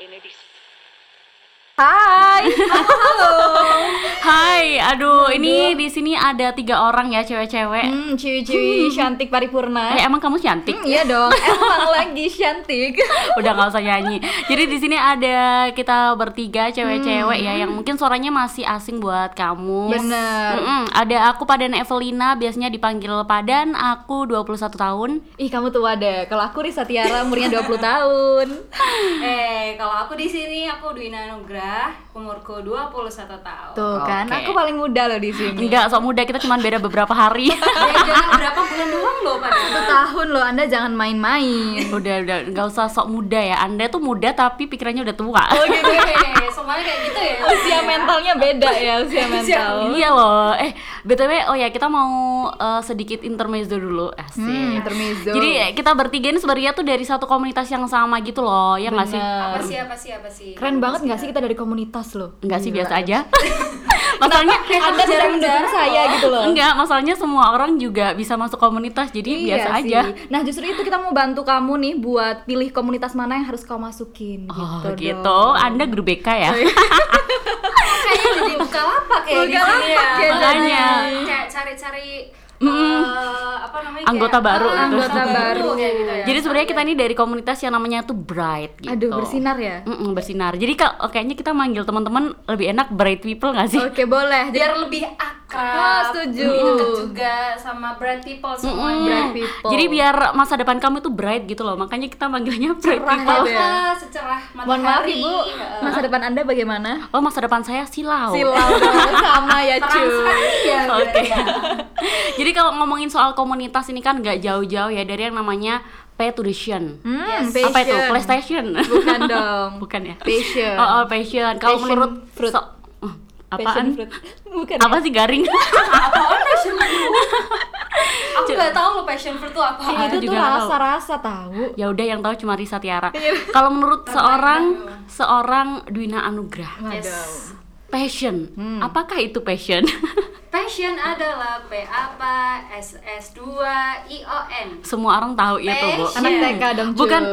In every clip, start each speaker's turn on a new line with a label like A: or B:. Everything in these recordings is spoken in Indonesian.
A: ini di
B: Hai, halo, halo.
C: Hai, aduh, Oh, ini di sini ada tiga orang ya cewek-cewek.
B: Hmm, ciwi-ciwi cantik paripurna.
C: Eh, emang kamu cantik?
B: Hmm, iya dong, emang lagi cantik.
C: Udah nggak usah nyanyi. Jadi di sini ada kita bertiga cewek-cewek ya
B: Hmm.
C: yang mungkin suaranya masih asing buat kamu.
B: Bener.
C: Mm-mm, Ada aku Padan Evelina, biasanya dipanggil Padan. Aku 21 tahun.
B: Ih, kamu tua deh. Kalau aku Risa Tiara umurnya 20 tahun.
D: Eh, kalau aku di sini aku Dwina Nugrah, umurku 21 tahun.
B: Tuh kan,
C: Oke.
B: aku paling muda loh di sini.
C: Enggak sok muda, kita cuma beda beberapa hari.
D: Ya, jangan berapa bulan doang loh
B: Satu
D: padahal.
B: tahun loh, Anda jangan main-main.
C: udah, udah nggak usah sok muda ya. Anda tuh muda tapi pikirannya udah tua.
B: Oh, gitu ya.
D: Oke, semuanya kayak gitu ya.
B: Usia mentalnya beda ya, usia mental.
C: Iya loh. Eh, BTW oh ya kita mau eh, sedikit intermezzo dulu. Asik.
B: Hmm, intermezzo.
C: Jadi eh, kita bertiga ini sebenarnya tuh dari satu komunitas yang sama gitu loh, ya nggak sih?
D: Apa
B: Bener.
D: sih apa sih apa sih?
B: Keren banget nggak sih kita dari komunitas loh? Eh,
C: Enggak sih biasa aja. masalahnya
B: Anda tidak mendukung saya gitu loh.
C: enggak, masalahnya semua orang juga bisa masuk komunitas jadi biasa
B: Iya sih.
C: aja.
B: Nah justru itu kita mau bantu kamu nih buat pilih komunitas mana yang harus kau masukin.
C: Oh
B: gitu.
C: gitu,
B: dong. Oh, iya,
C: Anda guru BK ya?
D: Kayaknya jadi buka lapak ya di
B: Bukalapak
D: sini ya.
B: ya,
C: Makanya.
D: Jadi Kayak cari-cari
C: Mm-mm.
D: eh, apa namanya?
C: Anggota
D: kayak-
C: baru
D: Ah,
C: gitu.
D: Anggota baru kayak gitu ya.
C: Jadi sebenarnya kita ini dari komunitas yang namanya tuh Bright gitu.
B: iya. Aduh bersinar ya.
C: Mm-mm, bersinar. Jadi kalau kayaknya kita manggil teman-teman lebih enak Bright People nggak sih?
B: Oke boleh. Jadi
D: biar lebih akrab.
B: Ah, setuju.
D: lebih Deket juga sama brand people semuanya.
B: Oh, bright people.
C: Jadi biar masa depan kamu itu bright gitu loh. Makanya kita manggilnya bright
B: Cerah
C: people.
B: gitu ya.
D: Ah, secerah matahari.
B: mohon maaf ibu,
D: Heeh.
B: masa depan Anda bagaimana?
C: Oh, masa depan saya silau.
B: Silau dong, sama ya
D: Terang sekali ya.
C: Oke. Jadi kalau ngomongin soal komunitas ini kan nggak jauh-jauh ya dari yang namanya pay to the Shin.
B: Hmm,
C: Apa itu?
B: passion.
C: PlayStation.
B: Bukan dong.
C: Bukan ya?
B: Passion.
C: Oh, oh, passion. Kalau
B: Passion
C: menurut
B: fruit.
C: so- eh, apaan?
B: Passion fruit. Bukan. ya.
C: Apa sih garing?
D: Apaan passion fruit? Aku nggak tahu lo passion fruit tuh apa.
B: Eh, itu
C: juga
B: tuh
C: nggak tahu.
B: rasa-rasa tahu.
C: ya udah yang tahu cuma Risa Tiara.
B: Iya.
C: Kalau menurut seorang seorang Dwina Anugrah,
D: Yes.
C: passion.
B: Hmm.
C: Apakah itu passion?
D: Passion adalah P apa S S 2 I O N.
C: Semua orang tahu itu, Bu.
D: Passion.
B: Anak TK dong cuy.
C: Bukan-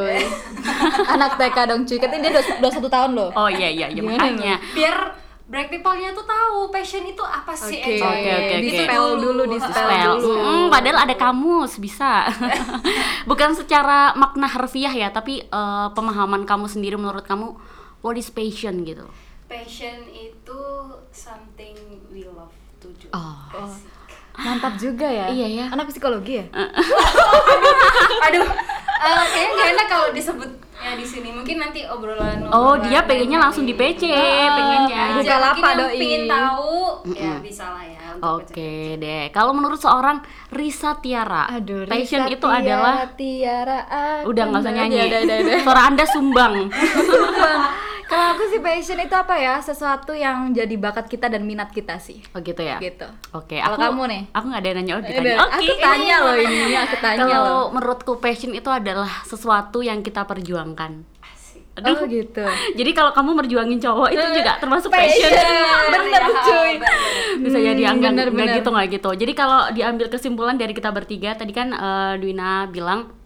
B: Anak TK dong cuy. Katanya dia udah, udah satu tahun loh.
C: Oh iya iya, iya
B: Gimana,
C: makanya.
D: Biar break people-nya tuh tahu passion itu apa sih
B: Oke,
D: Enjoy.
C: Oke, oke,
D: Gitu
C: oke.
B: Spell dulu, di spell.
C: Spell.
B: dulu.
C: Mm, padahal ada kamus bisa. Bukan secara makna harfiah ya, tapi eh, pemahaman kamu sendiri menurut kamu what is passion gitu.
D: Passion itu something we love to do.
C: Oh.
D: Asik.
B: Mantap juga ya.
C: Iya, ya.
B: Anak psikologi ya?
D: Aduh, eh, kayaknya nggak enak kalau disebutnya di sini. Mungkin nanti obrolan.
C: Oh, dia pengennya langsung di PC, pengennya.
B: Buka lapak,
D: Mungkin
B: doi.
D: yang pengin tahu, ya bisa lah ya. untuk
C: Oke deh. Kalau menurut seorang Risa Tiara,
B: Aduh,
C: passion
B: Risa
C: itu
B: Tiara,
C: adalah
B: Tiara aku
C: udah nggak usah
B: maju.
C: nyanyi.
B: Udah, udah, udah.
C: Suara Anda sumbang.
B: Sumbang. Kalau aku sih passion itu apa ya? Sesuatu yang jadi bakat kita dan minat kita sih.
C: Oh gitu ya.
B: Gitu.
C: Oke,
B: Kalau
C: aku
B: kamu nih?
C: Aku nggak ada yang nanya. Oh,
B: Eh,
C: ditanya.
B: udah.
C: Oke.
B: Aku tanya loh ini, aku tanya loh.
C: Kalau menurutku passion itu adalah sesuatu yang kita perjuangkan.
D: Asik.
C: Aduh.
B: Oh gitu.
C: Jadi kalau kamu merjuangin cowok itu
B: Eh,
C: juga termasuk passion.
B: Bener cuy.
C: Bisa jadi
B: Hmm,
C: enggak,
B: Ya bener,
C: enggak
B: bener.
C: gitu enggak gitu. Jadi kalau diambil kesimpulan dari kita bertiga tadi kan eh, Dwina bilang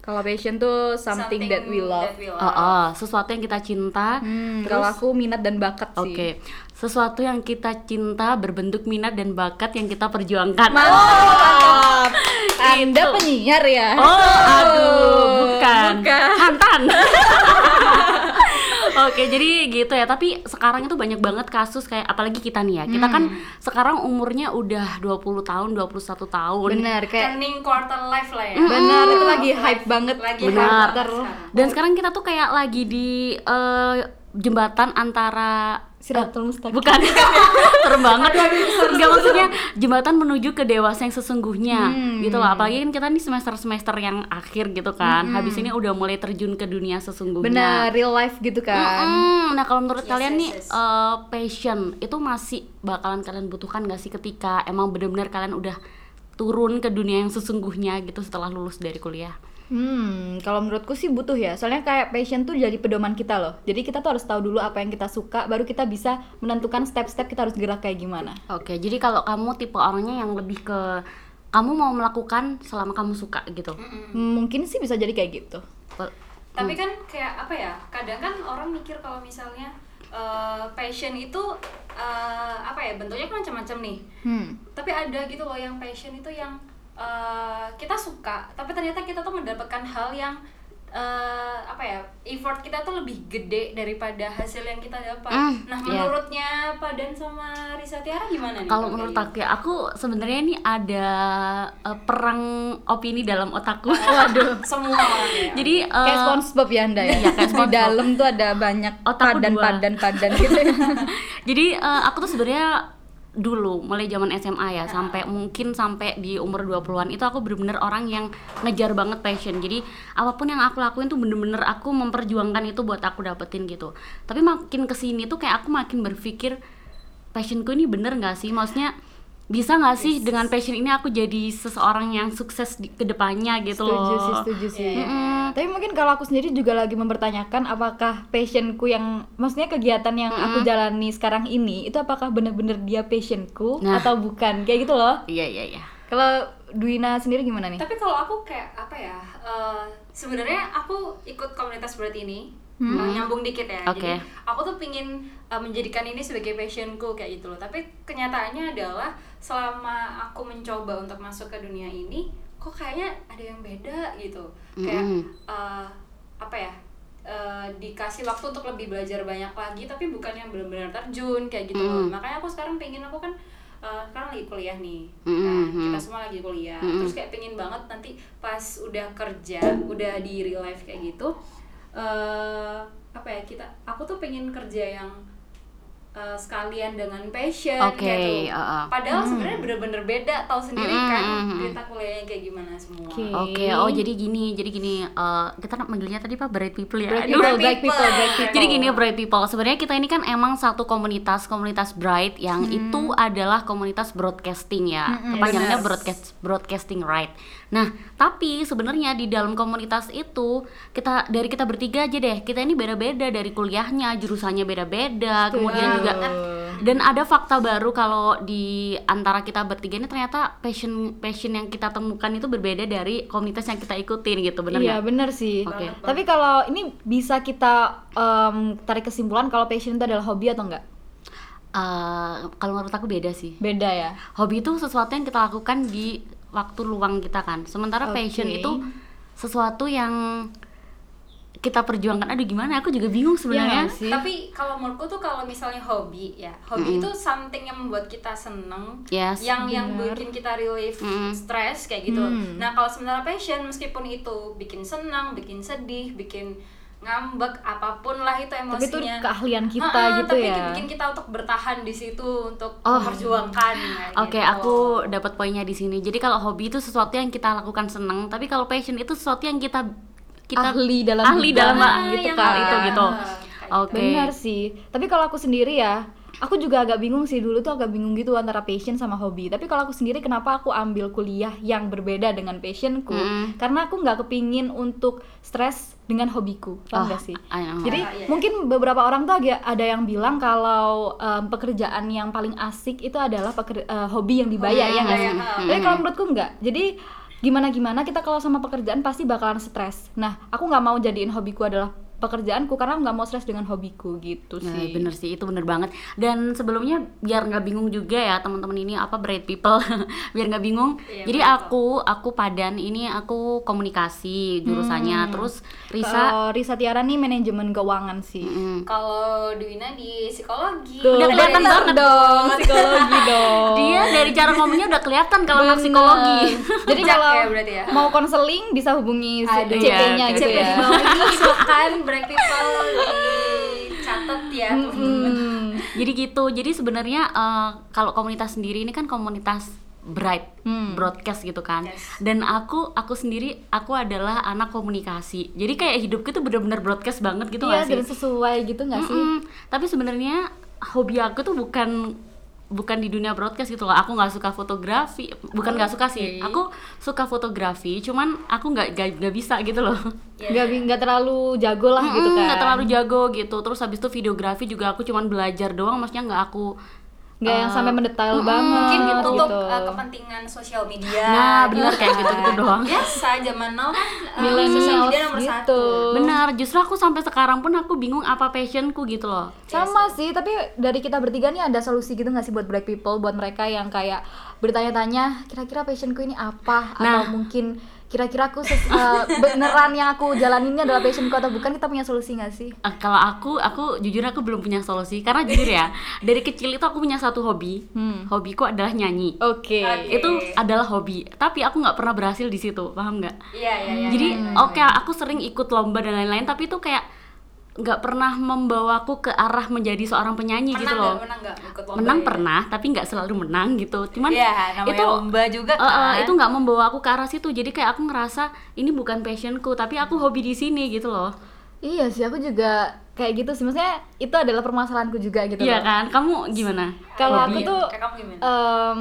B: Kalau passion tuh something, that we love.
C: oh, oh, sesuatu yang kita cinta.
B: Hmm, kalau aku minat dan bakat
C: Oke.
B: sih.
C: Sesuatu yang kita cinta berbentuk minat dan bakat yang kita perjuangkan.
B: Mantap. Oh! Anda
C: Itu.
B: penyiar ya?
C: Oh, aduh, bukan.
B: Bukan.
C: Hantan. Oke, jadi gitu ya. Tapi sekarang itu banyak banget kasus kayak apalagi kita nih ya. Kita
B: Hmm.
C: kan sekarang umurnya udah 20 tahun, 21 tahun.
B: Bener kayak
D: Turning quarter life lah ya.
B: Bener, itu lagi hype banget
D: Lagi
C: Benar.
D: hype banget sekarang.
C: Dan sekarang kita tuh kayak lagi di eh, jembatan antara eh,
B: Siratul Mustaqim.
C: bukan serem banget nggak maksudnya jembatan menuju ke dewasa yang sesungguhnya gitu loh apalagi kan kita nih semester semester yang akhir gitu kan habis ini udah mulai terjun ke dunia
B: Bener,
C: sesungguhnya
B: real life gitu kan.
C: Mm, nah kalau menurut
D: yes,
C: kalian nih
D: yes.
C: eh, passion itu masih bakalan kalian butuhkan gak sih ketika emang bener-bener kalian udah turun ke dunia yang sesungguhnya gitu setelah lulus dari kuliah
B: Hmm, kalau menurutku sih butuh ya. Soalnya kayak passion tuh jadi pedoman kita loh. Jadi kita tuh harus tahu dulu apa yang kita suka, baru kita bisa menentukan step-step kita harus gerak kayak gimana.
C: Oke, jadi kalau kamu tipe orangnya yang lebih ke kamu mau melakukan selama kamu suka gitu.
B: Hmm, Mungkin sih bisa jadi kayak gitu.
C: Pe-
D: tapi kan kayak apa ya kadang kan orang mikir kalau misalnya eh, passion itu eh, apa ya bentuknya kan macam-macam nih
B: Hmm.
D: tapi ada gitu loh yang passion itu yang eh, kita suka tapi ternyata kita tuh mendapatkan hal yang eh, apa ya effort kita tuh lebih gede daripada hasil yang kita dapat
C: Mm,
D: nah
C: iya.
D: menurutnya Padan sama Risa Tiara gimana nih
C: Kalau
D: kayak
C: menurut
D: gitu?
C: aku ya, aku sebenarnya ini ada eh, perang opini dalam otakku. Oh, Waduh.
D: semua orang ya
C: Jadi eh,
B: Kayak SpongeBob ya Anda ya.
C: Iya, kayak
B: Di
C: SpongeBob.
B: dalam tuh ada banyak
C: Otakku dua.
B: padan-padan-padan gitu.
C: Jadi eh, aku tuh sebenarnya dulu mulai zaman SMA ya sampai mungkin sampai di umur 20-an itu aku bener-bener orang yang ngejar banget passion. Jadi apapun yang aku lakuin tuh bener-bener aku memperjuangkan itu buat aku dapetin gitu. Tapi makin kesini tuh kayak aku makin berpikir passionku ini bener nggak sih? Maksudnya bisa nggak sih dengan passion ini aku jadi seseorang yang sukses di kedepannya gitu
B: setuju
C: loh.
B: sih, setuju sih.
D: Iya.
C: Mm-mm.
B: Tapi mungkin kalau aku sendiri juga lagi mempertanyakan apakah passionku yang maksudnya kegiatan yang aku jalani sekarang ini itu apakah bener-bener dia passionku
C: Nah.
B: atau bukan? Kayak gitu loh.
C: Iya iya iya.
B: Kalau Duina sendiri gimana nih?
D: tapi kalau aku kayak apa ya eh, sebenarnya aku ikut komunitas berat ini eh, nyambung dikit ya jadi
C: Oke.
D: aku tuh pingin eh, menjadikan ini sebagai passionku kayak gitu loh tapi kenyataannya adalah selama aku mencoba untuk masuk ke dunia ini kok kayaknya ada yang beda gitu kayak
C: Mm-mm.
D: eh, apa ya eh, dikasih waktu untuk lebih belajar banyak lagi tapi bukan yang benar-benar terjun kayak gitu loh
C: Mm.
D: makanya aku sekarang pengen aku kan eh, sekarang lagi kuliah nih
C: Mm-mm,
D: Nah, kita
C: mm-mm.
D: semua lagi kuliah
C: Mm-mm.
D: terus kayak pengen banget nanti pas udah kerja udah di real life kayak gitu eh apa ya kita aku tuh pengen kerja yang eh, sekalian dengan passion
C: Oke,
D: gitu
C: uh-uh.
D: padahal sebenarnya bener-bener beda tahu sendiri
C: Mm-mm,
D: kan
C: mm-mm.
D: cerita kuliahnya kayak gimana semua
B: Oke.
C: Oke, oh jadi gini, jadi gini, eh, kita manggilnya tadi apa bright people ya?
B: Bright
C: Aduh.
B: people, bright people, bright people.
C: Jadi gini Bright People, sebenarnya kita ini kan emang satu komunitas, komunitas Bright yang
D: Hmm.
C: itu adalah komunitas broadcasting ya. Kepanjangannya
D: benar.
C: broadcast broadcasting right. Nah, tapi sebenarnya di dalam komunitas itu kita dari kita bertiga aja deh. Kita ini beda-beda dari kuliahnya, jurusannya beda-beda, kemudian
D: Wow.
C: juga dan ada fakta baru kalau di antara kita bertiga ini ternyata passion passion yang kita temukan itu berbeda dari komunitas yang kita ikutin gitu, benar
B: iya
C: nggak?
B: bener sih.
C: Oke.
B: Tapi kalau ini bisa kita em, tarik kesimpulan kalau passion itu adalah hobi atau enggak?
C: Eh, kalau menurut aku beda sih.
B: Beda ya.
C: hobi itu sesuatu yang kita lakukan di waktu luang kita kan sementara
B: Oke.
C: passion itu sesuatu yang kita perjuangkan aduh gimana aku juga bingung
B: Iya
C: sebenarnya
B: nggak sih?
D: Tapi kalau menurutku tuh kalau misalnya hobi ya, hobi itu something yang membuat kita seneng,
C: Yes.
B: Ya
D: yang yang
B: Benar.
D: bikin kita relief
C: Mm-mm.
D: stress kayak gitu.
B: Hmm.
D: Nah kalau sementara passion meskipun itu bikin senang, bikin sedih, bikin ngambek apapun lah itu
B: Tapi itu
D: emosinya.
B: keahlian kita
D: Ha-ha,
B: gitu
D: tapi
B: ya.
D: itu bikin kita untuk bertahan di situ untuk
C: Oh.
D: memperjuangkan. kayak
C: Oke,
D: gitu.
C: aku dapat poinnya di sini. Jadi kalau hobi itu sesuatu yang kita lakukan seneng, tapi kalau passion itu sesuatu yang kita kita
B: Ahli dalam
C: ahli
B: bidang.
C: dalam
D: Ah,
C: gitu
D: yang
C: kan
D: kayak-
C: itu gitu.
D: kayak
C: Oke.
B: Benar sih. Tapi kalau aku sendiri ya, aku juga agak bingung sih dulu tuh agak bingung gitu antara passion sama hobi. Tapi kalau aku sendiri kenapa aku ambil kuliah yang berbeda dengan passionku?
C: Mm.
B: Karena aku nggak kepingin untuk stres dengan
C: Oh,
B: hobiku, paham nggak sih?
C: I know.
B: Jadi
D: Ah, iya, iya.
B: mungkin beberapa orang tuh agak ada yang bilang kalau em, pekerjaan yang paling asik itu adalah peker- eh, hobi yang dibayar
D: Hobi
C: Hmm.
B: ya
D: yang
B: nggak sih?
C: Mm-hmm.
D: dibayar,
B: Tapi kalau menurutku nggak. Jadi gimana gimana kita kalau sama pekerjaan pasti bakalan stres. Nah aku nggak mau jadiin hobiku adalah pekerjaanku karena aku nggak mau stres dengan hobiku gitu
C: Nah,
B: sih.
C: bener sih, itu bener banget. Dan sebelumnya biar nggak bingung juga ya teman-teman ini apa bright people, biar nggak bingung.
D: Iya,
C: Jadi
D: betul.
C: aku aku padan ini aku komunikasi jurusannya, terus Risa
B: Hmm, Kalau Risa Tiara nih manajemen keuangan sih.
C: mm,
D: Kalau Duina di psikologi.
B: Tuh,
C: Udah kelihatan
B: pinter
C: banget.
B: dong psikologi dong.
C: dia dari cara ngomongnya udah kelihatan kalau anak
B: Bener.
C: psikologi.
B: Jadi
D: Cek
B: kalau
D: ya berarti ya.
B: mau konseling bisa hubungi
C: Aduh,
B: CP-nya
C: iya,
D: CP
B: gitu
D: di
B: ya.
D: bawah ini silakan break people dicatat ya
C: Iya,
D: teman-teman.
B: Hmm.
C: Jadi gitu. Jadi sebenarnya eh, kalau komunitas sendiri ini kan komunitas bright
B: Hmm.
C: broadcast gitu kan.
D: Yes.
C: Dan aku aku sendiri aku adalah anak komunikasi. Jadi kayak hidupku tuh bener-bener broadcast banget gitu nggak
B: iya
C: sih?
B: dan sesuai gitu nggak sih?
C: Mm-mm. Tapi sebenarnya hobi aku tuh bukan bukan di dunia broadcast gitu loh. Aku nggak suka fotografi, bukan nggak suka sih. Aku suka fotografi, cuman aku nggak nggak nggak bisa gitu loh.
D: Ya.
B: Nggak bi- nggak terlalu jago lah
C: Mm-mm,
B: gitu kan?
C: nggak terlalu jago gitu. Terus habis itu videografi juga aku cuman belajar doang, maksudnya nggak aku
B: nggak
C: Eh,
B: yang sampai mendetail
C: mm-mm,
B: banget
D: mungkin
B: gitu.
D: untuk uh, kepentingan sosial media
C: Ah,
B: Ya,
C: Nah, bener, kayak
B: kan.
C: gitu-gitu doang.
D: biasa zaman now kan uh, sosial
B: milenials
D: media nomor
B: gitu.
D: satu
C: Benar, justru aku sampai sekarang pun aku bingung apa passionku gitu loh.
B: Sama sih, tapi dari kita bertiga nih ada solusi gitu nggak sih buat black people, buat mereka yang kayak bertanya-tanya kira-kira passionku ini apa
C: Nah.
B: atau mungkin kira-kira aku ses- eh, beneran yang aku jalanin ini adalah passionku atau bukan kita punya solusi nggak sih?
C: Eh, kalau aku, aku jujur aku belum punya solusi karena jujur ya dari kecil itu aku punya satu hobi.
B: Hmm.
C: Hobiku adalah nyanyi.
B: Oke.
D: Oke.
C: Itu adalah hobi, tapi aku nggak pernah berhasil di situ, paham nggak?
D: iya iya iya
C: Jadi oh,
D: iya, iya.
C: oke aku sering ikut lomba dan lain-lain, tapi itu kayak nggak pernah membawaku ke arah menjadi seorang penyanyi
D: menang
C: gitu
D: nggak
C: loh.
D: menang nggak ikut lomba
C: menang
D: ya?
C: pernah, tapi nggak selalu menang gitu. Cuman
D: Iya, namanya
C: itu
D: lomba juga
C: Eh, eh,
D: kan.
C: itu nggak membawa aku ke arah situ. Jadi kayak aku ngerasa ini bukan passionku, tapi aku hobi di sini gitu loh.
B: Iya sih, aku juga kayak gitu sih. Maksudnya itu adalah permasalahanku juga gitu.
C: Iya
B: loh.
C: kan? Kamu gimana?
B: Kalau aku
C: Hobi?
B: tuh
D: Kayak kamu gimana?
B: em,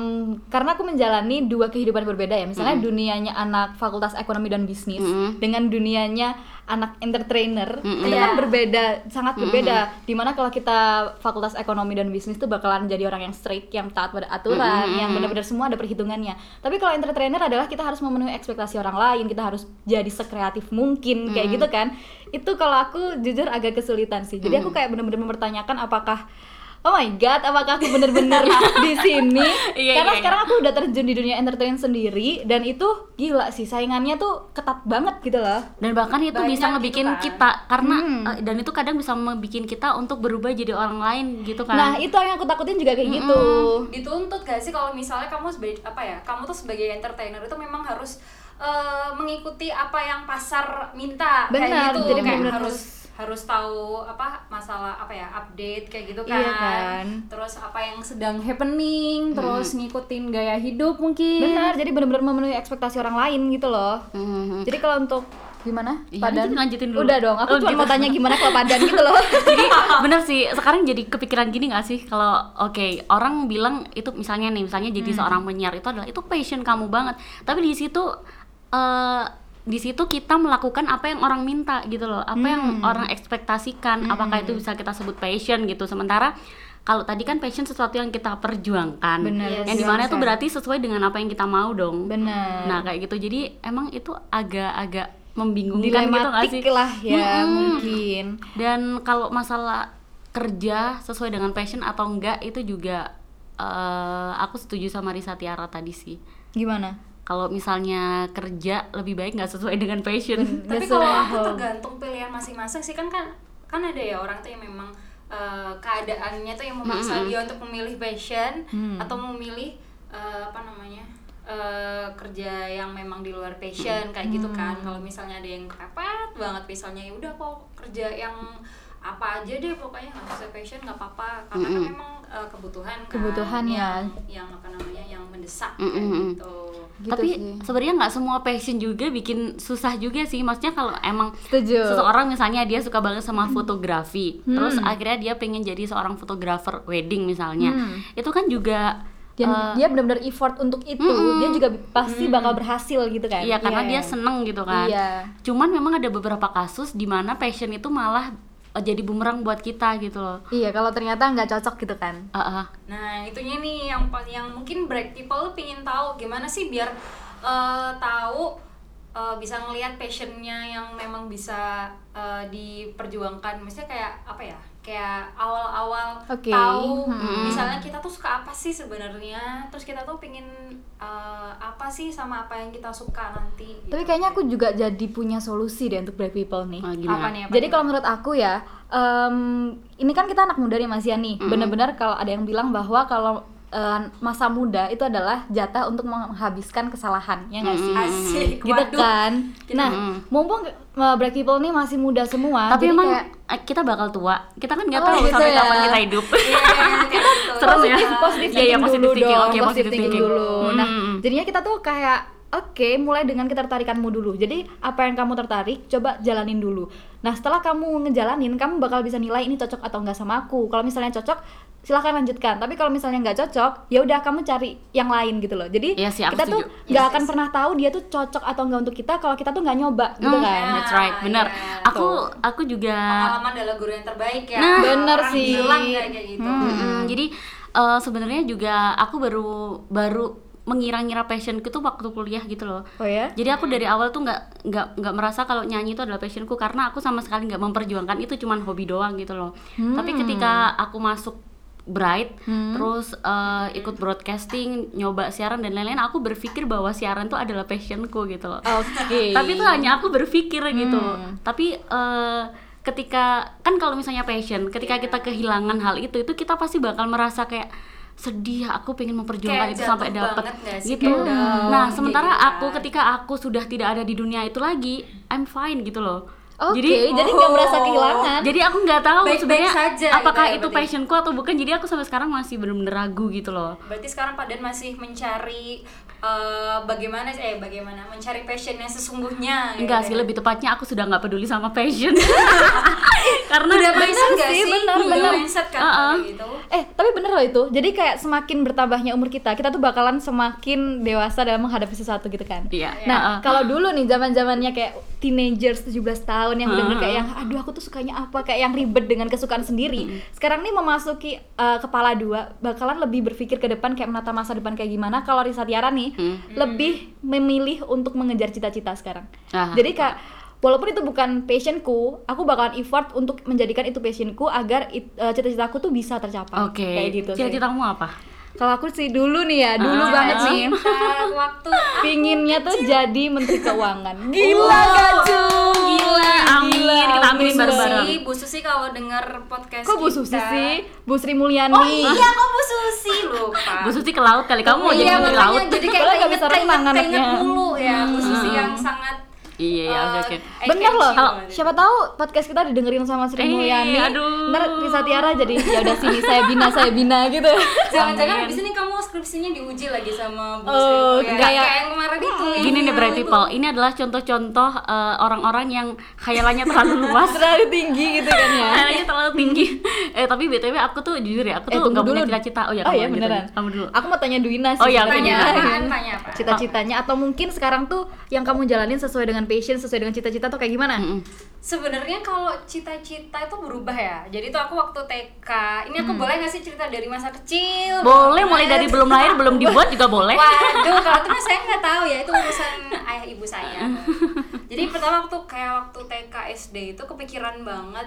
B: karena aku menjalani dua kehidupan berbeda ya. Misalnya dunianya anak Fakultas Ekonomi dan Bisnis
C: Mm-mm.
B: dengan dunianya anak entertainer
C: Mm-mm.
B: itu kan
D: Iya.
B: berbeda, sangat berbeda. Dimana kalau kita Fakultas Ekonomi dan Bisnis tuh bakalan jadi orang yang strict, yang taat pada aturan, Kan, yang benar-benar semua ada perhitungannya. Tapi kalau entertainer adalah kita harus memenuhi ekspektasi orang lain, kita harus jadi sekreatif mungkin kayak gitu kan. Itu kalau aku jujur agak kesulitan sih. Jadi aku kayak benar-benar mempertanyakan apakah Oh my god, apakah aku bener-bener di sini?
C: Iya,
B: Karena
C: iya, iya.
B: sekarang aku udah terjun di dunia entertain sendiri dan itu gila sih saingannya tuh ketat banget gitu loh.
C: dan bahkan itu
D: Banyak
C: bisa
D: gitu
C: ngebikin
D: kan.
C: kita karena eh, dan itu kadang bisa ngebikin kita untuk berubah jadi orang lain gitu kan.
B: Nah, itu yang aku takutin juga kayak gitu.
D: dituntut gak sih kalau misalnya kamu sebagai apa ya kamu tuh sebagai entertainer itu memang harus eh, mengikuti apa yang pasar minta kayak
B: Benar,
D: gitu
B: jadi
D: kayak
B: benar-benar
D: harus harus tahu apa masalah apa ya update kayak gitu kan,
B: Iya kan.
D: terus apa yang sedang happening terus ngikutin gaya hidup mungkin
B: Benar, jadi bener-bener memenuhi ekspektasi orang lain gitu loh.
C: Mhm.
B: Jadi kalau untuk gimana?
C: Iya, nanti lanjutin dulu.
B: Udah dong,
C: Oh,
B: aku cuma
C: gitu.
B: mau tanya gimana kalau padan gitu loh.
C: jadi bener sih sekarang jadi kepikiran gini gak sih kalau oke orang bilang itu misalnya nih misalnya
B: Mhm.
C: jadi seorang penyiar itu adalah itu passion kamu banget tapi di situ eh di situ kita melakukan apa yang orang minta gitu loh apa yang
B: Mhm.
C: orang ekspektasikan apakah itu bisa kita sebut passion gitu sementara kalau tadi kan passion sesuatu yang kita perjuangkan
B: Bener,
C: yang dimana itu
B: perjuangkan.
C: berarti sesuai dengan apa yang kita mau dong
B: Bener.
C: nah kayak gitu jadi emang itu agak-agak membingungkan gitu gak
B: Dilematik
C: sih
B: lah ya
C: Mm-mm.
B: mungkin.
C: Dan kalau masalah kerja sesuai dengan passion atau enggak itu juga eh, aku setuju sama Risa Tiara tadi sih.
B: Gimana?
C: Kalau misalnya kerja lebih baik nggak sesuai dengan passion.
D: tapi
B: Hmm, Nggak
D: kalau
B: sesuai
D: aku
B: hal.
D: tergantung pilihan masing-masing sih kan kan kan ada ya orang tuh yang memang eh, keadaannya tuh yang memaksa dia untuk memilih passion
B: Hmm.
D: atau memilih eh, apa namanya eh, kerja yang memang di luar passion kayak
B: Hmm.
D: gitu kan kalau misalnya ada yang kepepet banget misalnya ya udah kok kerja yang apa aja deh pokoknya nggak sesuai passion nggak apa-apa karena kan memang eh, kebutuhan kan
B: Kebutuhan ya.
D: yang, yang apa namanya yang mendesak kayak
C: Mm-mm.
D: gitu
B: Gitu
C: Tapi
B: sih.
C: sebenarnya nggak semua passion juga bikin susah juga sih. Maksudnya kalau emang
B: Setuju.
C: seseorang misalnya dia suka banget
B: Hmm.
C: sama fotografi, terus akhirnya dia pengen jadi seorang fotografer wedding misalnya,
B: Hmm.
C: itu kan juga
B: Dan
C: eh,
B: dia benar-benar effort untuk itu,
C: Mm-mm.
B: dia juga pasti bakal berhasil gitu kan.
C: Iya, karena dia seneng gitu kan.
B: Iya.
C: Cuman memang ada beberapa kasus di mana passion itu malah eh, jadi bumerang buat kita gitu loh.
B: Iya, kalau ternyata nggak cocok gitu kan.
C: Heeh.
D: Nah, itunya nih yang pa- yang mungkin break people tuh pingin tahu gimana sih biar eh, tahu eh, bisa ngelihat passionnya yang memang bisa eh, diperjuangkan. Maksudnya kayak apa ya? Kayak awal-awal
B: Oke.
D: tahu
B: Hmm.
D: misalnya kita tuh suka apa sih sebenarnya, terus kita tuh pingin eh, apa sih sama apa yang kita suka nanti. gitu.
B: Tapi kayaknya aku juga jadi punya solusi deh untuk black people nih.
C: Oh, gimana?
D: apa nih? Apa
B: Jadi
D: nih?
B: kalau menurut aku ya, em, ini kan kita anak muda nih Mas Yani. Bener-bener kalau ada yang bilang bahwa kalau eh, masa muda itu adalah jatah untuk menghabiskan kesalahan, ya nggak sih?
D: asik,
B: Gitu
D: waduh.
B: kan. Nah, mumpung eh, black people nih masih muda semua,
C: Tapi
B: Ah, jadi
C: emang
B: kayak
C: eh, kita bakal tua. Kita kan nggak
B: Oh,
C: tahu
B: gitu
C: sampai
B: ya.
C: kapan kita hidup.
D: Iya, iya, iya, kayak gitu.
C: Serem ya?
B: positif positif
C: Iya, iya,
B: thinking
C: positive
B: dulu
C: thinking.
B: dong
C: Oke,
B: positive
C: positive
B: thinking
C: thinking.
B: dulu nah
C: Hmm.
B: jadinya kita tuh kayak oke mulai dengan ketertarikanmu dulu jadi apa yang kamu tertarik coba jalanin dulu nah setelah kamu ngejalanin kamu bakal bisa nilai ini cocok atau nggak sama aku kalau misalnya cocok silahkan lanjutkan tapi kalau misalnya nggak cocok ya udah kamu cari yang lain gitu loh jadi
C: Iya sih, aku
B: kita tuh
C: setuju.
B: nggak akan pernah tahu dia tuh cocok atau nggak untuk kita kalau kita tuh nggak nyoba gitu
C: Hmm,
B: kan
C: That's right, bener.
D: Iya.
C: Aku aku juga
D: pengalaman adalah guru yang terbaik ya.
C: Nah,
B: bener
D: Orang
B: sih. Hmm.
D: bilang kayak kayak gitu.
C: Mm-mm, hmm, jadi eh, sebenarnya juga aku baru baru mengira-ngira passionku tuh waktu kuliah gitu loh.
B: Oh ya?
C: Jadi aku dari awal tuh nggak nggak nggak merasa kalau nyanyi itu adalah passionku karena aku sama sekali nggak memperjuangkan itu cuman hobi doang gitu loh. Tapi ketika aku masuk Bright, terus eh, ikut broadcasting, nyoba siaran dan lain-lain, aku berpikir bahwa siaran tuh adalah passionku gitu loh.
D: Iya.
B: Oke.
C: Tapi itu hanya aku berpikir gitu.
D: Hmm.
C: Tapi eh, ketika kan kalau misalnya passion, ketika kita kehilangan hal itu, itu kita pasti bakal merasa kayak sedih. Aku pengen
D: Kayak
C: memperjuangkan itu
D: jatuh
C: sampai dapat
D: banget nggak sih?
C: gitu.
D: Kayak down,
C: Nah,
D: kayak
C: sementara
D: gitu
C: aku
D: kan.
C: ketika aku sudah tidak ada di dunia itu lagi, I'm fine gitu loh.
B: Oke,
C: Jadi
B: jadi nggak merasa
D: Oh.
B: kehilangan.
C: jadi aku nggak tahu
D: Baik-baik
C: sebenarnya
D: saja
C: apakah
D: gitu ya,
C: itu
D: berarti.
C: passionku atau bukan. Jadi aku sampai sekarang masih benar-benar ragu gitu loh.
D: Berarti sekarang Padan masih mencari eh, bagaimana eh bagaimana mencari passion yang sesungguhnya. gitu
C: Enggak
D: ya.
C: sih, lebih tepatnya aku sudah nggak peduli sama passion. Karena
D: Udah mindset nggak
B: sih,
D: sih?
B: benar,
D: Udah
B: benar.
D: mindset kan
C: Uh-uh.
D: kalau gitu.
B: Eh, tapi bener loh itu. Jadi kayak semakin bertambahnya umur kita, kita tuh bakalan semakin dewasa dalam menghadapi sesuatu gitu kan.
C: Iya.
B: Nah,
C: Heeh.
B: kalau dulu nih zaman-zamannya kayak teenagers 17 tahun yang bener-bener
C: Heeh.
B: kayak yang aduh aku tuh sukanya apa, kayak yang ribet dengan kesukaan sendiri. Sekarang nih memasuki eh, kepala dua, bakalan lebih berpikir ke depan kayak menata masa depan kayak gimana. Kalau Risa Tiara nih lebih memilih untuk mengejar cita-cita sekarang.
C: Ah.
B: Jadi kayak walaupun itu bukan passionku, aku bakalan effort untuk menjadikan itu passionku agar it- eh, cita-citaku tuh bisa tercapai.
C: Oke.
B: Kayak gitu. sih.
C: Jadi kamu apa?
B: Kalau aku sih dulu nih ya, dulu
C: Ah.
B: banget nih.
D: Cinta waktu
B: Pinginnya tuh jadi menteri keuangan. Gila
C: Wow.
B: gak cuy?
C: Gila, amin.
B: gila,
C: Kita aminin
B: amin
C: bareng-bareng.
D: Susi, Bu Susi kalau dengar podcast
B: Kok Bu
D: kita-
B: Susi sih? Hmm. Bu Sri Mulyani.
D: Oh iya, kok Bu Susi lupa.
C: Bu Susi ke laut kali. Kamu mau jadi
D: iya,
C: menteri
D: makanya
C: laut.
D: Jadi kayak
B: Padahal nggak
D: keinget,
B: bisa renang
D: keinget, keinget
B: anaknya.
D: mulu ya Bu Susi yang sangat
C: Iya, iya, oke,
D: eh, gitu.
C: oke.
D: eye
B: Bentar loh,
D: catchy banget.
B: siapa tahu podcast kita didengerin sama Sri
C: Eh,
B: Mulyani.
C: aduh.
B: Ntar Risa Tiara jadi ya udah sini saya bina, saya bina gitu.
D: Jangan-jangan abis ini kamu skripsinya diuji lagi sama Bu
B: Oh,
D: Susi. Ya,
B: kayak-
D: kayak yang kemarin itu.
C: Hmm, Gini nih bright people, ini adalah contoh-contoh eh, orang-orang yang khayalannya terlalu luas
B: Terlalu tinggi gitu kan ya.
C: Khayalannya terlalu tinggi Eh tapi BTW aku tuh jujur ya, aku
B: Eh,
C: tuh
B: tunggu
C: nggak punya
B: dulu.
C: cita-cita Oh ya kamu
B: oh iya
C: lanjutin.
B: beneran.
C: Kamu dulu
B: Aku mau tanya Duina sih.
C: Oh iya, oke,
D: Tanya
C: Duina.
D: apaan? Tanya apa?
B: cita-citanya atau mungkin sekarang tuh yang kamu jalanin sesuai dengan passion, sesuai dengan cita-cita tuh kayak gimana?
C: Mm-mm.
D: Sebenarnya kalau cita-cita itu berubah ya. Jadi tuh aku waktu TK, ini aku boleh nggak sih cerita dari masa kecil?
C: Hmm. Boleh mulai
D: banget.
C: dari belum lahir, belum dibuat juga boleh
D: Waduh, kalau itu mah saya nggak tahu ya, itu urusan ayah ibu saya. Jadi pertama waktu kayak waktu TK SD itu kepikiran banget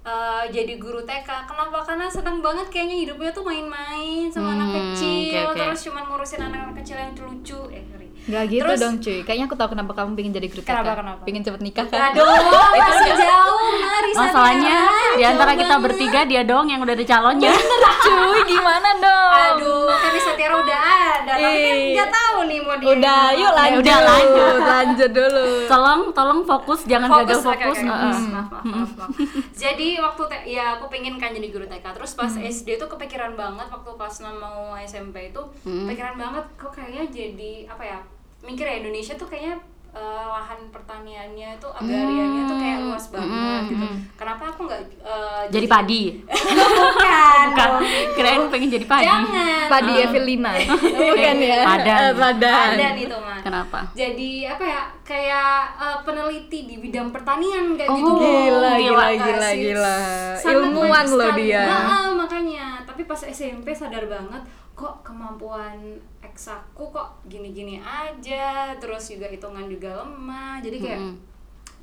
D: eh, jadi guru TK. Kenapa? Karena seneng banget kayaknya hidupnya tuh main-main sama anak
C: Hmm,
D: kecil,
C: oke, oke.
D: terus cuman ngurusin anak-anak kecil yang lucu. Eh, ngeri.
B: Gak gitu
D: Terus-
B: dong cuy, kayaknya aku tahu kenapa kamu pengen jadi guru TK
D: Kenapa, kenapa?
B: Pengen cepet nikah kan?
D: Aduh, masih jauh, Mari
C: Masalahnya di antara kita bertiga dia doang yang udah ada calonnya
B: cuy, gimana dong?
D: Aduh, kan Satira udah ada, tapi kan
B: Ih.
D: nggak tahu nih mau dia.
B: Udah, yuk
C: Ya
B: lanjut
C: Iya. udah, lanjut.
B: Lanjut dulu
C: Tolong, tolong fokus, jangan gagal
D: oke, oke,
C: fokus
D: oke.
C: Heeh.
D: Maaf, maaf, maaf, maaf. Jadi waktu te- ya aku pengen kan jadi guru TK. Terus pas
C: Hmm.
D: SD tuh kepikiran banget waktu kelas 6 mau SMP itu,
C: Hmm.
D: kepikiran banget kok kayaknya jadi apa ya? Mikir ya Indonesia tuh kayaknya eh, lahan pertaniannya itu agrariannya tuh
C: Hmm.
D: kayak luas banget gitu. Kenapa aku nggak eh,
C: Jadi padi
D: bukan?
C: Bukan, keren pengen jadi padi
D: Jangan.
B: Padi Evelina Bukan ya?
C: Padan.
B: Eh, Padan
D: Ada nih tuh, Mas.
C: Kenapa?
D: Jadi apa ya? Kayak eh, peneliti di bidang pertanian kayak gitu.
B: Oh, Gila, gila,
D: Nggak
B: gila,
D: sih?
B: gila
D: Sangat
B: Ilmuwan
D: bagus
B: loh
D: sekali.
B: dia.
D: Nah, makanya. Tapi pas SMP sadar banget kok kemampuan eksaku kok gini-gini aja. Terus juga hitungan juga lemah. Jadi kayak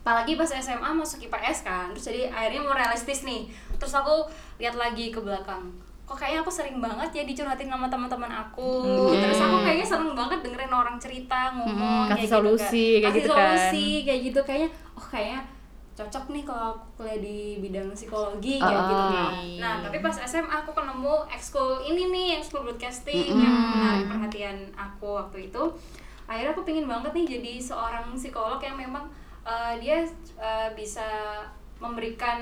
D: apalagi pas SMA masuk IPS kan terus jadi akhirnya mau realistis nih terus aku lihat lagi ke belakang kok kayaknya aku sering banget ya dicurhatin sama teman-teman aku terus aku kayaknya seneng banget dengerin orang cerita ngomong
B: Hmm. Kasih
D: kayak
B: solusi,
D: gitu, kan.
B: kayak
D: kasih
B: gitu kan.
D: solusi kayak gitu kayaknya oh kayaknya cocok nih kalau aku kuliah di bidang psikologi kayak gitu
B: Ah,
D: kan nah tapi pas SMA aku ketemu ekskul ini nih ekskul broadcasting yang menarik perhatian aku waktu itu akhirnya aku pingin banget nih jadi seorang psikolog yang memang eh, dia eh, bisa memberikan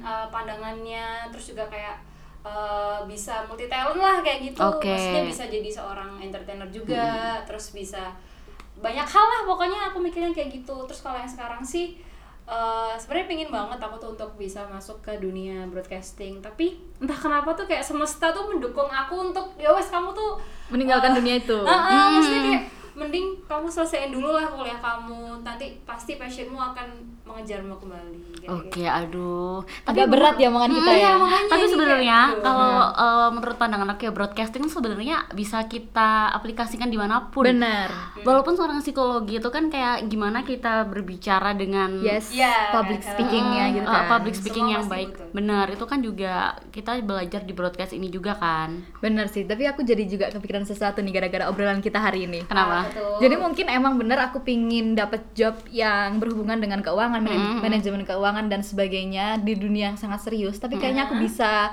D: eh, pandangannya terus juga kayak eh, bisa multi talent lah kayak gitu
C: Oke.
D: maksudnya bisa jadi seorang entertainer juga terus bisa banyak hal lah pokoknya aku mikirnya kayak gitu terus kalau yang sekarang sih eh, sebenarnya pingin banget aku tuh untuk bisa masuk ke dunia broadcasting tapi entah kenapa tuh kayak semesta tuh mendukung aku untuk ya wes kamu tuh
B: Meninggalkan dunia itu
D: Ah,
B: Hmm.
D: Heeh, maksudnya kayak mending kamu selesaiin dulu lah kuliah kamu nanti pasti passionmu akan mengejarmu kembali kayak
C: Oke,
D: gitu.
C: aduh.
B: Agak berat ya omongan
C: Ah,
B: kita
C: iya,
B: ya.
D: makanya
C: Tapi
D: ini kayak
C: sebenarnya
D: gitu.
C: kalau eh, menurut pandangan aku ya broadcasting sebenarnya bisa kita aplikasikan dimanapun.
B: Benar.
C: Walaupun seorang psikologi itu kan kayak gimana kita berbicara dengan
B: Yes.
D: Iya,
B: public
D: kan,
B: speakingnya
C: Mm,
B: gitu
C: eh,
B: kan. gitu.
C: public speaking
D: Semua
C: yang
D: pasti
C: baik.
D: butuh.
C: Benar, itu kan juga kita belajar di broadcast ini juga kan.
B: Benar sih, tapi aku jadi juga kepikiran sesuatu nih gara-gara obrolan kita hari ini.
C: Kenapa?
D: Nah, Betul.
B: Nah, Jadi mungkin emang bener aku pingin dapat job yang berhubungan dengan keuangan, manaj-
C: Mm-mm.
B: manajemen keuangan dan sebagainya di dunia yang sangat serius. Tapi kayaknya aku bisa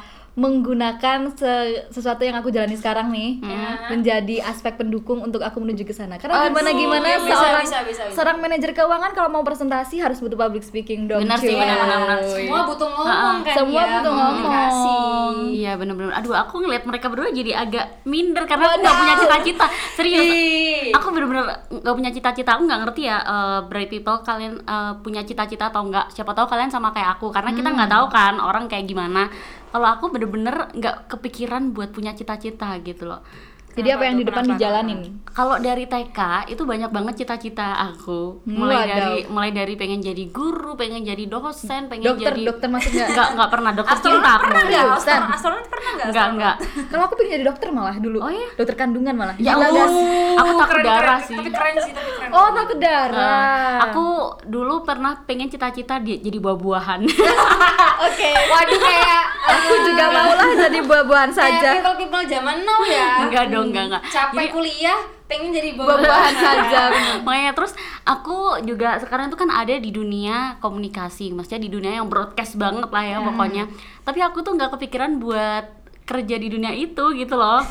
B: menggunakan se- sesuatu yang aku jalani sekarang nih ya, menjadi aspek pendukung untuk aku menuju ke sana. Karena
C: Oh,
D: Aduh,
B: gimana gimana
D: bisa,
B: seorang
D: bisa, bisa, bisa.
B: seorang manajer keuangan kalau mau presentasi harus butuh public speaking dong.
C: Benar sih,
B: cuy.
C: benar-benar.
D: Iya. semua butuh ngomong kan
B: Iya. Semua
D: ya,
B: butuh ngomong.
D: komunikasi.
C: Iya bener-bener. Aduh aku ngeliat mereka berdua jadi agak minder karena aku nggak punya cita-cita. Serius.
D: Ih.
C: Iya, Aku bener-bener nggak punya cita-cita. Aku nggak ngerti ya eh, bright people kalian eh, punya cita-cita atau nggak. Siapa tahu kalian sama kayak aku karena kita
D: Hmm.
C: nggak tahu kan orang kayak gimana. Kalau aku bener-bener nggak kepikiran buat punya cita-cita gitu loh.
B: Jadi apa
D: Kenapa
B: yang di
D: tuh?
B: depan
D: Kenapa?
B: dijalanin.
C: Kalau dari TK itu banyak banget cita-cita aku.
B: Hmm,
C: Mulai
B: wadaw.
C: dari mulai dari pengen jadi guru, pengen jadi dosen, pengen
B: Dokter,
C: Iya, jadi
B: dokter masuk nggak?
C: nggak nggak pernah dokter
D: Astronot
C: cinta aku.
D: pernah nggak?
B: Bukan.
D: Astronot- Astronot pernah nggak?
C: Nggak
D: astronot?
C: nggak.
B: Kalau aku pengen jadi dokter malah dulu.
C: Oh iya?
B: Dokter kandungan malah.
C: Ya
B: Gila,
C: Allah,
B: guys.
C: aku
D: Keren,
C: takut
D: keren,
C: darah sih.
D: Tapi keren Ah. sih, tapi keren.
B: Oh, takut
C: Nah,
B: darah.
C: aku dulu pernah pengen cita-cita di- jadi buah-buahan.
D: Ya.
B: oke.
D: Waduh kayak
B: Aku juga maulah jadi buah-buahan saja.
D: Kayak people people zaman now ya.
C: enggak dong, enggak enggak.
D: Hmm, Capek kuliah, pengen jadi Nah,
B: Buah-buahan
D: boboan.
B: saja.
C: Makanya terus aku juga sekarang itu kan ada di dunia komunikasi, maksudnya di dunia yang broadcast banget lah ya
D: Hmm.
C: pokoknya. Tapi aku tuh nggak kepikiran buat kerja di dunia itu gitu loh.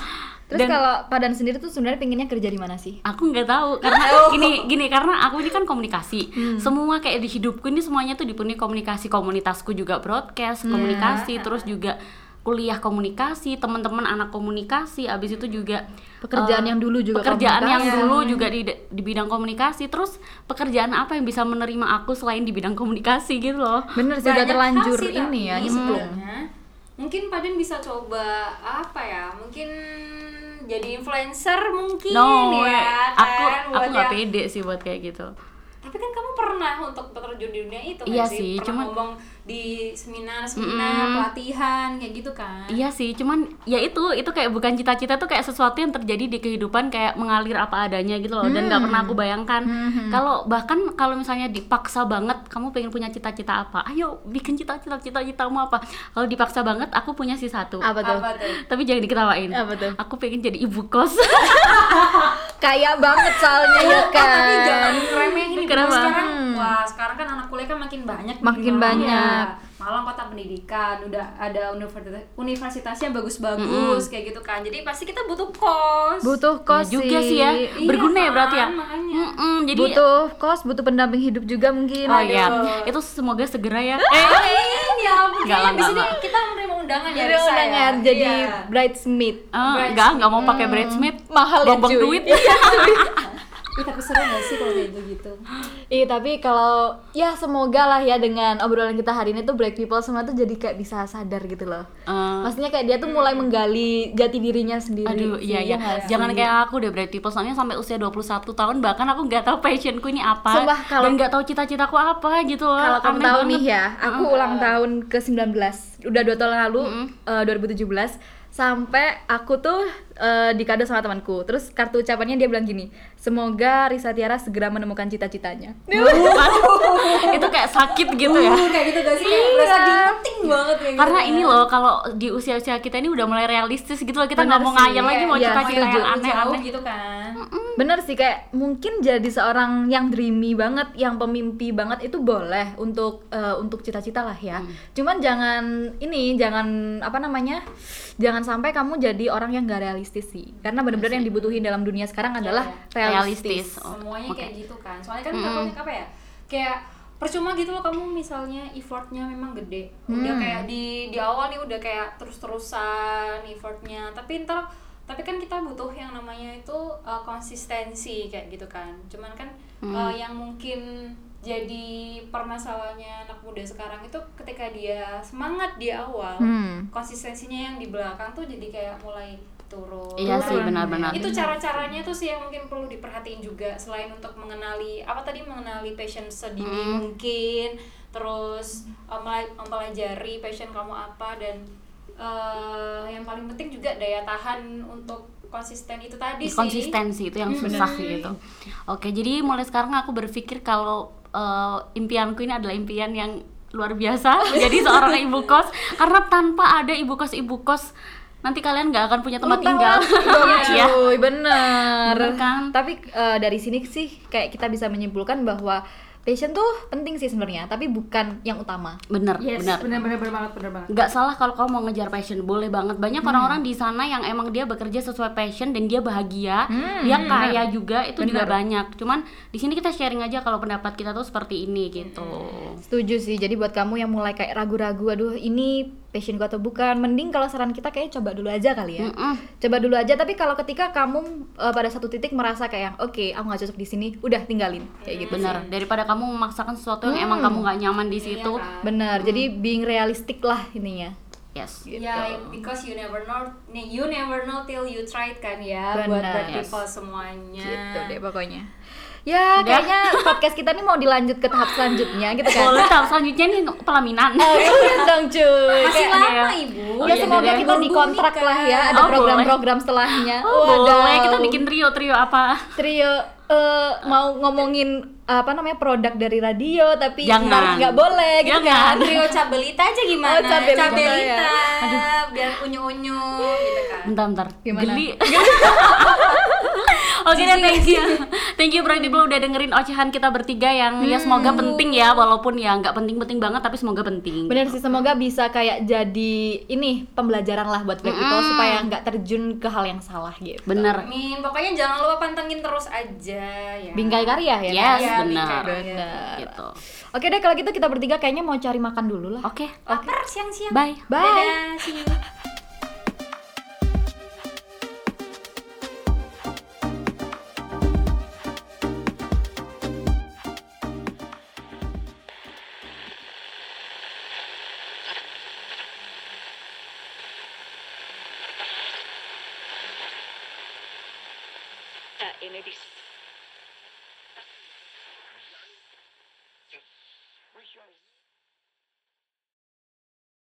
B: Terus
C: Dan-
B: kalau Padan sendiri tuh sebenarnya pengennya kerja di mana sih?
C: aku nggak tahu karena
D: Oh.
C: gini gini karena aku ini kan komunikasi
D: Hmm.
C: semua kayak di hidupku ini semuanya tuh dipenuhi komunikasi komunitasku juga broadcast
D: Iya.
C: komunikasi terus juga kuliah komunikasi teman-teman anak komunikasi abis itu juga
B: Pekerjaan
C: eh,
B: yang dulu juga
C: pekerjaan yang
B: komunikasi.
C: dulu juga di di bidang komunikasi terus pekerjaan apa yang bisa menerima aku selain di bidang komunikasi gitu loh
B: Bener sih
D: Banyak
B: udah terlanjur
D: hal sih,
B: ini ya
D: tapi
B: nyemplung.
D: sebenarnya, Mungkin Paden bisa coba apa ya? Mungkin jadi influencer mungkin
C: no
D: ya kan?
C: aku aku
D: Buat
C: nggak
D: yang-
C: pede sih buat kayak gitu
D: Tapi kan kamu pernah untuk terjun di dunia itu kan
C: Iya sih,
D: Pernah
C: cuman-
D: ngomong di seminar, seminar, pelatihan kayak gitu kan.
C: Iya sih, cuman ya itu itu kayak bukan cita-cita tuh kayak sesuatu yang terjadi di kehidupan kayak mengalir apa adanya gitu loh dan nggak pernah
B: Hmm.
C: aku bayangkan. Kalau bahkan kalau misalnya dipaksa banget kamu pengen punya cita-cita apa? Ayo bikin cita-cita cita-citamu apa? Kalau dipaksa banget aku punya sih satu.
B: Apa tuh?
D: Apa tuh?
C: Tapi jangan diketawain.
B: Apa tuh?
C: Aku pengen jadi ibu kos.
B: Kayak banget soalnya ya
D: Oh, tapi
B: kan.
D: jangan remehin ibu
C: Kenapa?
D: sekarang wah sekarang kan anak kuliah kan makin banyak di
B: Makin
D: Malang.
B: banyak.
D: Iya. Malang kota pendidikan udah ada universitas universitasnya bagus-bagus kayak gitu kan jadi pasti kita butuh kos
B: Butuh kos
C: Ya juga sih ya.
D: Iya,
B: sih.
C: Berguna ya
D: kan,
C: berarti ya.
D: makanya.
C: Mm-mm, jadi
B: Butuh kos, butuh pendamping hidup juga mungkin.
C: Oh iya,
D: Aduh.
C: itu semoga segera ya.
D: Eh, ya ampun, kayaknya
C: Nggak lah,
D: di
C: nggak
D: sini
C: lah.
D: kita menerima undangan ya
B: Jadi
D: bisa
B: orang
D: ya.
B: yang jadi
D: Iya.
B: bridesmaid.
C: Eh, enggak, enggak mau pakai bridesmaid.
B: Hmm. Mahal ya,
C: Buang-buang
B: cuy.
C: duit.
D: Ih, tapi seru gak sih kalau kayak gitu
B: Iya tapi kalau ya semoga lah ya dengan obrolan kita hari ini tuh black people semua tuh jadi kayak bisa sadar gitu loh.
C: Eh,
B: Maksudnya kayak dia tuh mulai menggali jati dirinya sendiri.
C: Aduh,
B: sih,
C: iya iya.
B: nggak sih?
C: Jangan kayak aku deh berarti people soalnya sampai usia 21 tahun bahkan aku nggak tahu passionku ini apa
B: Sumpah, kalau-
C: dan nggak tahu cita-citaku apa gitu loh.
B: kalau kamu
C: Aneh
B: tahu
C: banget.
B: nih ya, aku
C: Hmm.
B: ulang tahun ke 19 udah dua tahun lalu eh, 2017 sampai aku tuh eh, dikado sama temanku. Terus kartu ucapannya dia bilang gini, semoga Risa Tiara segera menemukan cita-citanya.
C: itu kayak sakit gitu ya.
D: kayak gitu gak sih kayak berasa diingetin banget ya gitu
C: Karena
D: kan.
C: ini loh kalau di usia-usia kita ini udah mulai realistis gitu loh kita nggak
B: Bener
C: mau
B: sih,
C: ngayal lagi mau
B: iya,
C: cita-cita
B: setuju.
C: yang
D: jauh
C: aneh-aneh.
D: gitu kan
B: Bener sih kayak mungkin jadi seorang yang dreamy banget, yang pemimpi banget itu boleh untuk eh, untuk cita-cita lah ya.
C: Hmm.
B: Cuman jangan ini jangan apa namanya? Jangan sampai kamu jadi orang yang gak realistis sih. Karena bener-bener yang dibutuhin dalam dunia sekarang adalah
C: Iya Realistis.
B: realistis.
C: Oh,
D: semuanya
C: oke.
D: kayak gitu kan soalnya kan takutnya apa ya kayak percuma gitu loh kamu misalnya effortnya memang gede udah
C: Mm.
D: kayak di di awal nih udah kayak terus terusan effortnya tapi ntar tapi kan kita butuh yang namanya itu uh, konsistensi kayak gitu kan cuman kan
C: Mm.
D: uh, yang mungkin jadi permasalahannya anak muda sekarang itu ketika dia semangat di awal
B: Hmm.
C: Mm.
D: konsistensinya yang di belakang tuh jadi kayak mulai turun.
C: Iya sih, benar-benar.
D: gitu. Itu cara-caranya tuh sih yang mungkin perlu diperhatiin juga selain untuk mengenali apa tadi mengenali passion sedini mungkin, terus eh, mela- mempelajari passion kamu apa dan eh, yang paling penting juga daya tahan untuk konsisten itu tadi
A: Iya
D: sih.
C: konsistensi itu yang susah gitu. Oke, jadi mulai sekarang aku berpikir kalau eh, impianku ini adalah impian yang luar biasa. jadi seorang ibu kos karena tanpa ada ibu kos ibu kos nanti kalian nggak akan punya tempat tinggal.
B: Iya,
C: Iya.
B: cuy, bener.
C: Bener kan?
B: Tapi eh, dari sini sih kayak kita bisa menyimpulkan bahwa passion tuh penting sih sebenarnya, tapi bukan yang utama.
C: Bener,
A: Yes,
C: bener.
A: benar benar benar banget, benar banget.
C: nggak salah kalau kamu mau ngejar passion boleh banget banyak orang-orang di sana yang emang dia bekerja sesuai passion dan dia bahagia
A: Hmm,
C: dia kaya juga itu juga banyak cuman di sini kita sharing aja kalau pendapat kita tuh seperti ini gitu
B: Setuju sih. Jadi buat kamu yang mulai kayak ragu-ragu, aduh ini passion gua atau bukan, mending kalau saran kita kayak coba dulu aja kali ya.
C: Mm-mm.
B: Coba dulu aja. Tapi kalau ketika kamu eh, pada satu titik merasa kayak, oke aku nggak cocok di sini, udah tinggalin kayak gitu.
C: bener daripada kamu memaksakan sesuatu yang
B: Hmm.
C: emang kamu nggak nyaman di situ
B: Iya
D: kan?
C: Mm.
B: Bener. Jadi being realistik lah ininya.
C: yes
B: Iya
D: Ya, because you never know, you never know till you try it kan ya, buat
B: Benar.
D: buat people
C: Ya.
D: semuanya.
B: Gitu deh pokoknya. Ya kayaknya podcast kita nih mau dilanjut ke tahap selanjutnya gitu kan.
C: boleh tahu selanjutnya nih pelaminan
B: Oh, iya dong cuy.
D: Masih
B: Kayak-
D: lama
C: iya.
D: ibu.
C: Oh,
B: ya
C: iya,
B: semoga
C: iya.
B: kita dikontrak lah ya ada
C: Oh, boleh.
B: program-program setelahnya.
C: oh, boleh
B: Wadaw.
C: kita bikin trio trio apa
B: trio eh, mau ngomongin apa namanya produk dari radio tapi
C: Jangan.
B: harus nggak boleh gitu
C: Jangan.
B: kan.
D: Trio cabelita aja gimana?
B: Oh, Cabelita.
D: cabelita. biar unyu-unyu gitu kan.
C: bentar bentar
B: Gimana?
C: geli Oke dan thank you, thank you Bro Diblo udah dengerin ocehan kita bertiga yang ya
B: Hmm.
C: semoga penting ya walaupun ya nggak penting-penting banget tapi semoga penting.
B: Bener sih semoga bisa kayak jadi ini pembelajaran lah buat Black people supaya nggak terjun ke hal yang salah gitu.
C: Bener.
D: Amin. Pokoknya jangan lupa pantengin terus aja ya.
B: Bingkai karya ya.
C: Yes,
D: Iya,
C: benar.
D: bingkai.
B: Bener.
C: Gitu.
B: Oke deh kalau gitu kita bertiga kayaknya mau cari makan dulu lah.
C: Oke.
D: Lapar siang-siang.
C: Bye.
B: Bye.
D: Dadah, see you.
E: Tak, ini dis.